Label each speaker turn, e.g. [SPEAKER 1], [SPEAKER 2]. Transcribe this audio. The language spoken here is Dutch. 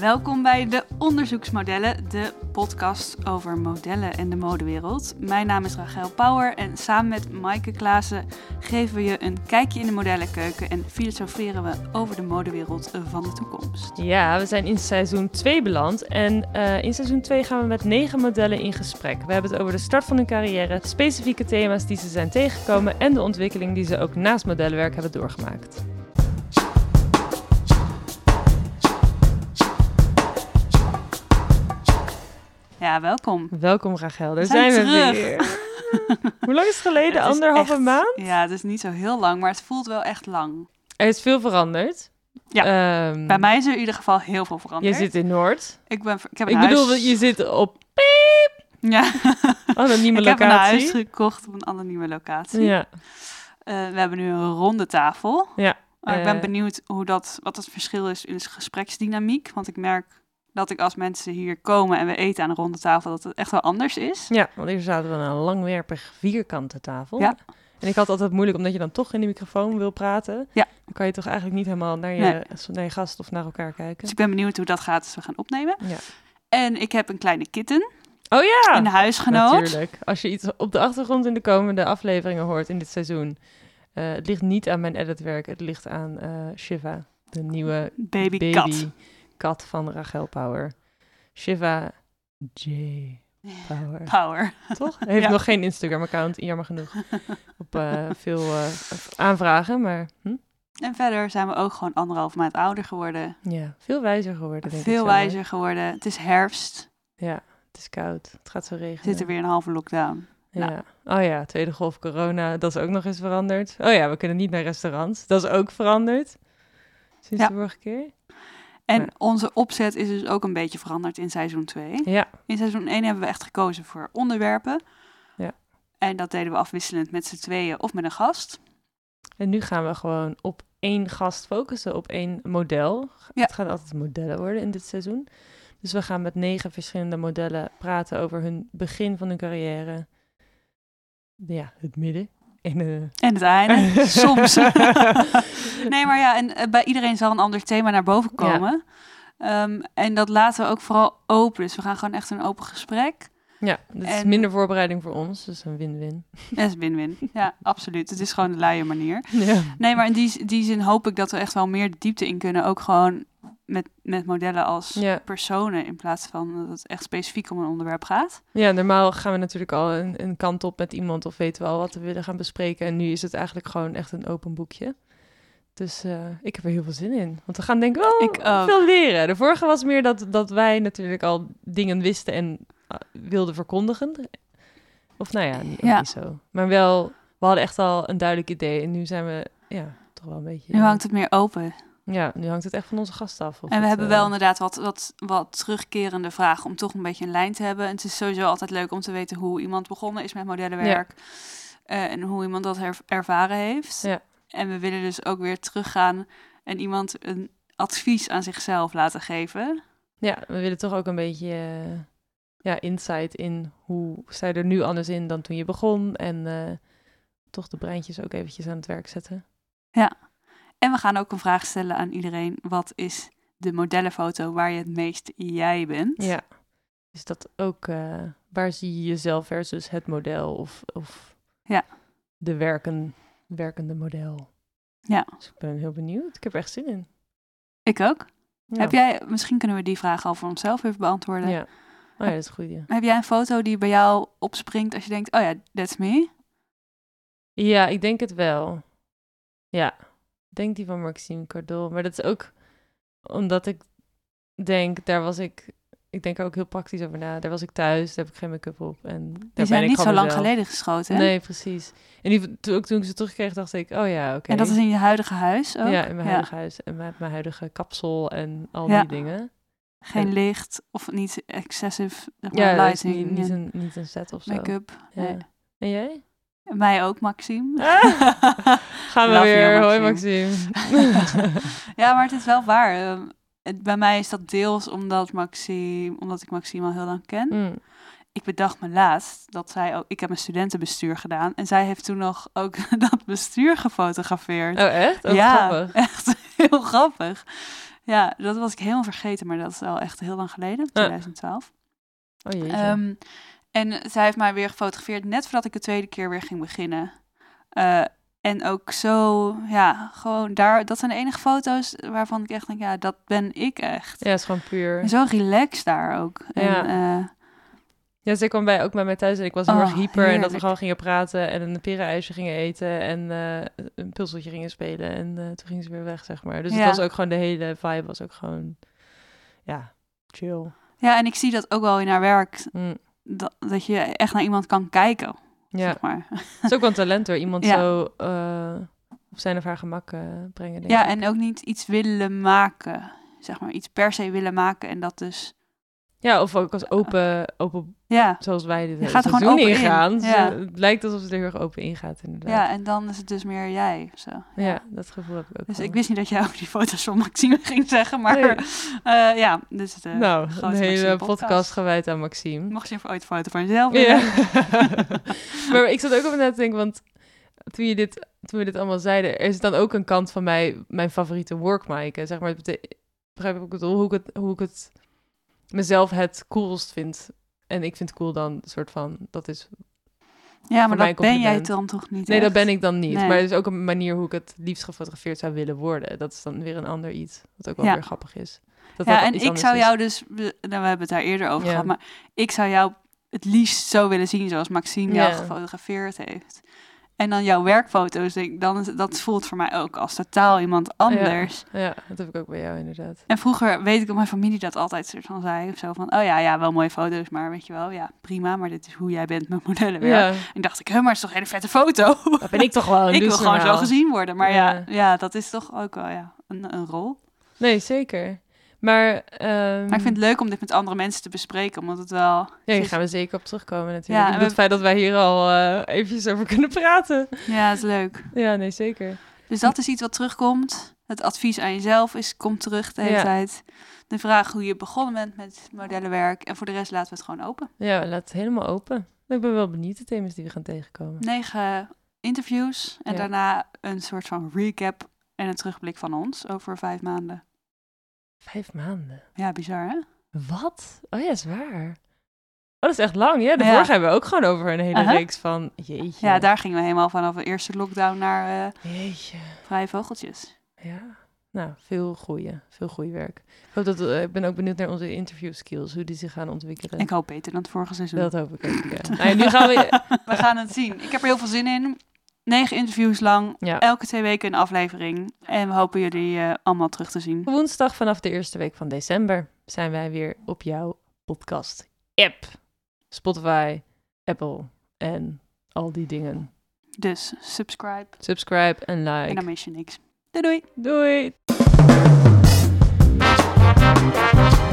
[SPEAKER 1] Welkom bij de Onderzoeksmodellen, de podcast over modellen en de modewereld. Mijn naam is Rachel Power en samen met Maaike Klaassen geven we je een kijkje in de modellenkeuken en filosoferen we over de modewereld van de toekomst.
[SPEAKER 2] Ja, we zijn in seizoen 2 beland. En eh, in seizoen 2 gaan we met negen modellen in gesprek. We hebben het over de start van hun carrière, specifieke thema's die ze zijn tegengekomen en de ontwikkeling die ze ook naast modellenwerk hebben doorgemaakt.
[SPEAKER 1] Ja, welkom.
[SPEAKER 2] Welkom Rachel, daar
[SPEAKER 1] We
[SPEAKER 2] zijn,
[SPEAKER 1] zijn
[SPEAKER 2] we
[SPEAKER 1] terug.
[SPEAKER 2] weer. Hoe lang is het geleden?
[SPEAKER 1] Het is
[SPEAKER 2] Anderhalve
[SPEAKER 1] echt-
[SPEAKER 2] maand?
[SPEAKER 1] Ja, het is niet zo heel lang, maar het voelt wel echt lang.
[SPEAKER 2] Er is veel veranderd. Ja,
[SPEAKER 1] Bij mij is er in ieder geval heel veel
[SPEAKER 2] Je
[SPEAKER 1] veranderd.
[SPEAKER 2] zit in Noord.
[SPEAKER 1] Ik, ben, ver- ik heb een
[SPEAKER 2] Ik
[SPEAKER 1] huis.
[SPEAKER 2] bedoel, je zit op Oh,
[SPEAKER 1] Ja,
[SPEAKER 2] anonieme
[SPEAKER 1] ik heb een
[SPEAKER 2] locatie.
[SPEAKER 1] huis gekocht op een anonieme locatie.
[SPEAKER 2] ja.
[SPEAKER 1] Eh, we hebben nu een ronde tafel.
[SPEAKER 2] Ja,
[SPEAKER 1] Maar ik ben
[SPEAKER 2] eh.
[SPEAKER 1] benieuwd hoe dat, wat het verschil is in de gespreksdynamiek. Want ik merk dat ik als mensen hier komen en we eten aan een ronde tafel, dat het echt wel anders is.
[SPEAKER 2] ja, want hier zaten we aan een langwerpig vierkante tafel.
[SPEAKER 1] Ja.
[SPEAKER 2] En ik had altijd moeilijk omdat je dan toch in de microfoon wil praten.
[SPEAKER 1] Ja.
[SPEAKER 2] Dan kan je toch eigenlijk niet helemaal naar je,
[SPEAKER 1] Nee.
[SPEAKER 2] naar je gast of naar elkaar kijken.
[SPEAKER 1] Dus ik ben benieuwd hoe dat gaat als we gaan opnemen.
[SPEAKER 2] Ja.
[SPEAKER 1] En ik heb een kleine kitten,
[SPEAKER 2] Oh ja!
[SPEAKER 1] een huisgenoot.
[SPEAKER 2] Natuurlijk. Als je iets op de achtergrond in de komende afleveringen hoort in dit seizoen. eh, het ligt niet aan mijn editwerk, het ligt aan eh, Shiva, de nieuwe
[SPEAKER 1] Baby,
[SPEAKER 2] baby
[SPEAKER 1] kat.
[SPEAKER 2] kat van Rachel Power. Shiva J. Power.
[SPEAKER 1] Power.
[SPEAKER 2] Toch? Hij heeft
[SPEAKER 1] Ja.
[SPEAKER 2] nog geen Instagram-account, jammer genoeg. Op eh, veel eh, aanvragen, maar hm?
[SPEAKER 1] En verder zijn we ook gewoon anderhalf maand ouder geworden.
[SPEAKER 2] ja, veel wijzer geworden. Denk ik
[SPEAKER 1] Veel
[SPEAKER 2] zo, hè?
[SPEAKER 1] wijzer geworden. Het is herfst.
[SPEAKER 2] Ja, het is koud. Het gaat zo regenen.
[SPEAKER 1] Zit er weer een halve lockdown.
[SPEAKER 2] ja. Oh ja, tweede golf corona, dat is ook nog eens veranderd. Oh ja, we kunnen niet naar restaurants. Dat is ook veranderd. Sinds
[SPEAKER 1] Ja.
[SPEAKER 2] de vorige keer.
[SPEAKER 1] En
[SPEAKER 2] Ja.
[SPEAKER 1] onze opzet is dus ook een beetje veranderd in seizoen 2.
[SPEAKER 2] Ja,
[SPEAKER 1] In seizoen 1 hebben we echt gekozen voor onderwerpen.
[SPEAKER 2] Ja.
[SPEAKER 1] En dat deden we afwisselend met z'n tweeën of met een gast.
[SPEAKER 2] en nu gaan we gewoon op één gast focussen, op één model.
[SPEAKER 1] Ja.
[SPEAKER 2] Het gaan altijd modellen worden in dit seizoen. Dus we gaan met negen verschillende modellen praten over hun begin van hun carrière. Ja, het midden. En, eh,
[SPEAKER 1] En het einde, soms. nee, maar ja, en eh, bij iedereen zal een ander thema naar boven
[SPEAKER 2] Ja.
[SPEAKER 1] komen. Ehm, en dat laten we ook vooral open. Dus we gaan gewoon echt een open gesprek.
[SPEAKER 2] ja, dat is
[SPEAKER 1] En-
[SPEAKER 2] minder voorbereiding voor ons, dus een win-win.
[SPEAKER 1] Dat is win-win. Ja, absoluut. Het is gewoon de luie manier.
[SPEAKER 2] Ja.
[SPEAKER 1] Nee, maar in die, z- die zin hoop ik dat we echt wel meer de diepte in kunnen. Ook gewoon met, met modellen als
[SPEAKER 2] Ja.
[SPEAKER 1] personen. In plaats van dat het echt specifiek om een onderwerp gaat.
[SPEAKER 2] Ja, normaal gaan we natuurlijk al een, een kant op met iemand of weten we al wat we willen gaan bespreken. En nu is het eigenlijk gewoon echt een open boekje. Dus eh, ik heb er heel veel zin in. Want we gaan denk ik wel
[SPEAKER 1] Ik ook.
[SPEAKER 2] veel leren. De vorige was meer dat, dat wij natuurlijk al dingen wisten en ah, wilden verkondigen. Of nou ja, niet, ook
[SPEAKER 1] Ja.
[SPEAKER 2] niet zo. Maar wel, we hadden echt al een duidelijk idee. En nu zijn we, ja, toch wel een beetje...
[SPEAKER 1] Nu hangt het meer open.
[SPEAKER 2] Ja, nu hangt het echt van onze gast af. of
[SPEAKER 1] En we
[SPEAKER 2] het,
[SPEAKER 1] hebben
[SPEAKER 2] eh,
[SPEAKER 1] wel inderdaad wat, wat, wat terugkerende vragen om toch een beetje een lijn te hebben. En het is sowieso altijd leuk om te weten hoe iemand begonnen is met modellenwerk. eh, en hoe iemand dat her- ervaren heeft.
[SPEAKER 2] Ja.
[SPEAKER 1] En we willen dus ook weer teruggaan en iemand een advies aan zichzelf laten geven.
[SPEAKER 2] Ja, we willen toch ook een beetje eh, ja, insight in hoe sta je er nu anders in dan toen je begon. En eh, toch de breintjes ook eventjes aan het werk zetten.
[SPEAKER 1] En we gaan ook een vraag stellen aan iedereen. Wat is de modellenfoto waar je het meest jij bent?
[SPEAKER 2] Ja. Is dat ook, eh, waar zie je jezelf versus het model of, of
[SPEAKER 1] Ja.
[SPEAKER 2] de werken, werkende model?
[SPEAKER 1] Ja.
[SPEAKER 2] Dus ik ben heel benieuwd. Ik heb er echt zin in.
[SPEAKER 1] Ik ook.
[SPEAKER 2] Ja.
[SPEAKER 1] Heb eh? jij, misschien kunnen we die vraag al voor onszelf even beantwoorden.
[SPEAKER 2] Ja. Oh ja, dat is een goeie.
[SPEAKER 1] Heb jij een foto die bij jou opspringt als je denkt, oh ja, that's me?
[SPEAKER 2] Ja, ik denk het wel. Ja, ik denk die van Maxime Cardot. Maar dat is ook omdat ik denk, daar was ik, ik denk er ook heel praktisch over na. Daar was ik thuis, daar heb ik geen make-up op. En daar
[SPEAKER 1] Die
[SPEAKER 2] ben
[SPEAKER 1] zijn
[SPEAKER 2] ik
[SPEAKER 1] niet zo
[SPEAKER 2] gewoon
[SPEAKER 1] lang
[SPEAKER 2] mezelf.
[SPEAKER 1] geleden geschoten. hè?
[SPEAKER 2] Nee, precies. En die, toen, ook toen ik ze terugkreeg, dacht ik, oh ja, oké.
[SPEAKER 1] En dat is in je huidige huis ook.
[SPEAKER 2] Ja, in mijn huidige huis en met mijn huidige kapsel en al
[SPEAKER 1] Ja.
[SPEAKER 2] die dingen.
[SPEAKER 1] Geen licht of niet excessive zeg maar,
[SPEAKER 2] Ja, dat is
[SPEAKER 1] lighting,
[SPEAKER 2] niet, niet, een, niet een set of zo.
[SPEAKER 1] make-up.
[SPEAKER 2] Ja.
[SPEAKER 1] nee.
[SPEAKER 2] En jij?
[SPEAKER 1] Mij ook, Maxime.
[SPEAKER 2] Gaan we
[SPEAKER 1] Love you,
[SPEAKER 2] weer. Hoi Maxime.
[SPEAKER 1] ja, maar het is wel waar. ehm, het, bij mij is dat deels omdat, Maxime, omdat ik Maxime al heel lang ken.
[SPEAKER 2] Mm.
[SPEAKER 1] Ik bedacht me laatst dat zij ook... Ik heb een studentenbestuur gedaan. En zij heeft toen nog ook dat bestuur gefotografeerd.
[SPEAKER 2] Oh echt? Oh,
[SPEAKER 1] ja,
[SPEAKER 2] grappig.
[SPEAKER 1] echt heel grappig. Ja, dat was ik helemaal vergeten, maar dat is al echt heel lang geleden, 2012.
[SPEAKER 2] Oh jee.
[SPEAKER 1] Ehm, en zij heeft mij weer gefotografeerd net voordat ik de tweede keer weer ging beginnen. Eh, en ook zo, ja, gewoon daar. Dat zijn de enige foto's waarvan ik echt denk, ja, dat ben ik echt.
[SPEAKER 2] ja, is gewoon puur.
[SPEAKER 1] En zo relaxed daar ook.
[SPEAKER 2] Ja.
[SPEAKER 1] En, eh,
[SPEAKER 2] Ja, ze kwam bij, ook bij mij thuis en ik was heel
[SPEAKER 1] Oh,
[SPEAKER 2] erg hyper. En dat we
[SPEAKER 1] heerlijk.
[SPEAKER 2] gewoon gingen praten en een perenijsje gingen eten en eh, een puzzeltje gingen spelen. En eh, toen ging ze weer weg, zeg maar. Dus
[SPEAKER 1] Ja.
[SPEAKER 2] het was ook gewoon, de hele vibe was ook gewoon, ja, chill.
[SPEAKER 1] ja, en ik zie dat ook wel in haar werk.
[SPEAKER 2] Hm,
[SPEAKER 1] Dat, dat je echt naar iemand kan kijken,
[SPEAKER 2] Ja,
[SPEAKER 1] zeg maar.
[SPEAKER 2] het is ook wel een talent hoor. Iemand
[SPEAKER 1] Ja.
[SPEAKER 2] zo eh, op zijn of haar gemak eh, brengen, denk
[SPEAKER 1] Ja,
[SPEAKER 2] ik.
[SPEAKER 1] en ook niet iets willen maken. Zeg maar, iets per se willen maken. En dat dus,
[SPEAKER 2] Ja, of ook als open, open
[SPEAKER 1] ja.
[SPEAKER 2] zoals wij dit
[SPEAKER 1] Je
[SPEAKER 2] hele
[SPEAKER 1] gaat er gewoon
[SPEAKER 2] seizoen
[SPEAKER 1] open in.
[SPEAKER 2] ingaan.
[SPEAKER 1] Ja.
[SPEAKER 2] Ze- het lijkt alsof ze er heel erg open ingaat, inderdaad.
[SPEAKER 1] Ja, en dan is het dus meer jij. of Zo.
[SPEAKER 2] Ja, dat gevoel heb ik ook
[SPEAKER 1] Dus
[SPEAKER 2] wel.
[SPEAKER 1] ik wist niet dat jij ook die foto's van Maxime ging zeggen, maar
[SPEAKER 2] Nee.
[SPEAKER 1] eh, ja, dus de
[SPEAKER 2] nou,
[SPEAKER 1] grote
[SPEAKER 2] een hele
[SPEAKER 1] Maxime
[SPEAKER 2] podcast. gewijd aan Maxime.
[SPEAKER 1] Mocht je even ooit een foto van jezelf
[SPEAKER 2] Ja.
[SPEAKER 1] willen?
[SPEAKER 2] maar ik zat ook over na te denken, want toen, je dit, toen we dit allemaal zeiden, er is dan ook een kant van mij, mijn favoriete workmic. Zeg maar, het bete- begrijp ik ook het, hoe ik het, hoe ik het mezelf het coolst vind. En ik vind cool dan een soort van, dat is...
[SPEAKER 1] Ja,
[SPEAKER 2] Voor
[SPEAKER 1] maar
[SPEAKER 2] mij
[SPEAKER 1] dat ben jij
[SPEAKER 2] compliment.
[SPEAKER 1] dan toch niet
[SPEAKER 2] Nee, dat
[SPEAKER 1] echt?
[SPEAKER 2] ben ik dan niet.
[SPEAKER 1] Nee.
[SPEAKER 2] Maar het is ook een manier hoe ik het liefst gefotografeerd zou willen worden. Dat is dan weer een ander iets, wat ook wel
[SPEAKER 1] Ja.
[SPEAKER 2] weer grappig is. Dat
[SPEAKER 1] Ja,
[SPEAKER 2] dat
[SPEAKER 1] en
[SPEAKER 2] iets
[SPEAKER 1] ik
[SPEAKER 2] anders
[SPEAKER 1] zou
[SPEAKER 2] is.
[SPEAKER 1] jou dus, we- nou, we hebben het daar eerder over
[SPEAKER 2] Ja.
[SPEAKER 1] gehad, maar ik zou jou het liefst zo willen zien zoals Maxime jou
[SPEAKER 2] Ja.
[SPEAKER 1] gefotografeerd heeft. En dan jouw werkfoto's, denk- dan is- dat voelt voor mij ook als totaal iemand anders.
[SPEAKER 2] Ja, dat heb ik ook bij jou inderdaad.
[SPEAKER 1] En vroeger weet ik dat mijn familie dat altijd soort van zei of zo van, oh ja, ja, wel mooie foto's, maar weet je wel, ja, prima, maar dit is hoe jij bent met modellenwerk.
[SPEAKER 2] Ja,
[SPEAKER 1] En dacht ik, hè, maar het is toch een hele vette foto.
[SPEAKER 2] dat ben ik toch gewoon.
[SPEAKER 1] ik
[SPEAKER 2] doe
[SPEAKER 1] wil
[SPEAKER 2] ze
[SPEAKER 1] gewoon zo
[SPEAKER 2] nou.
[SPEAKER 1] gezien worden. Maar ja,
[SPEAKER 2] Ja.
[SPEAKER 1] ja, dat is toch ook wel ja, een, een rol.
[SPEAKER 2] Nee, zeker. Maar, ehm,
[SPEAKER 1] Maar ik vind het leuk om dit met andere mensen te bespreken. Omdat het wel...
[SPEAKER 2] Ja, hier
[SPEAKER 1] het is-
[SPEAKER 2] gaan we zeker op terugkomen natuurlijk.
[SPEAKER 1] Ja,
[SPEAKER 2] Ik
[SPEAKER 1] en
[SPEAKER 2] bedoel,
[SPEAKER 1] we-
[SPEAKER 2] Het feit dat wij hier al eh eventjes over kunnen praten.
[SPEAKER 1] Ja, het is leuk.
[SPEAKER 2] Ja, nee, zeker.
[SPEAKER 1] Dus dat is iets wat terugkomt. Het advies aan jezelf is, komt terug de hele
[SPEAKER 2] Ja.
[SPEAKER 1] tijd. De vraag hoe je begonnen bent met modellenwerk. En voor de rest laten we het gewoon open.
[SPEAKER 2] Ja, laat het helemaal open. Ik ben wel benieuwd de thema's die we gaan tegenkomen.
[SPEAKER 1] Negen interviews. En
[SPEAKER 2] Ja.
[SPEAKER 1] daarna een soort van recap en een terugblik van ons over vijf maanden.
[SPEAKER 2] Vijf maanden.
[SPEAKER 1] Ja, bizar hè?
[SPEAKER 2] Wat? Oh ja, is waar. Oh, dat is echt lang. Ja, de
[SPEAKER 1] Ja.
[SPEAKER 2] vorige hebben we ook gewoon over een hele
[SPEAKER 1] Aha.
[SPEAKER 2] reeks van... Jeetje.
[SPEAKER 1] Ja, daar gingen we helemaal vanaf de eerste lockdown naar eh,
[SPEAKER 2] Jeetje.
[SPEAKER 1] vrije vogeltjes.
[SPEAKER 2] Ja. Nou, veel goeie. Veel goeie werk. Ik, hoop dat, eh, ik ben ook benieuwd naar onze interview skills. Hoe die zich gaan ontwikkelen.
[SPEAKER 1] Ik hoop beter dan het vorige seizoen.
[SPEAKER 2] Dat hoop ik ook, ja. Nou ja, nu gaan we...
[SPEAKER 1] We gaan het zien. Ik heb er heel veel zin in. Negen interviews lang.
[SPEAKER 2] Ja.
[SPEAKER 1] Elke twee weken een aflevering. En we hopen jullie eh, allemaal terug te zien.
[SPEAKER 2] Woensdag vanaf de eerste week van december zijn wij weer op jouw podcast app. Spotify, Apple en al die dingen.
[SPEAKER 1] Dus subscribe.
[SPEAKER 2] Subscribe en
[SPEAKER 1] En dan
[SPEAKER 2] like.
[SPEAKER 1] mis je niks. Doei doei.
[SPEAKER 2] Doei!
[SPEAKER 1] Doei.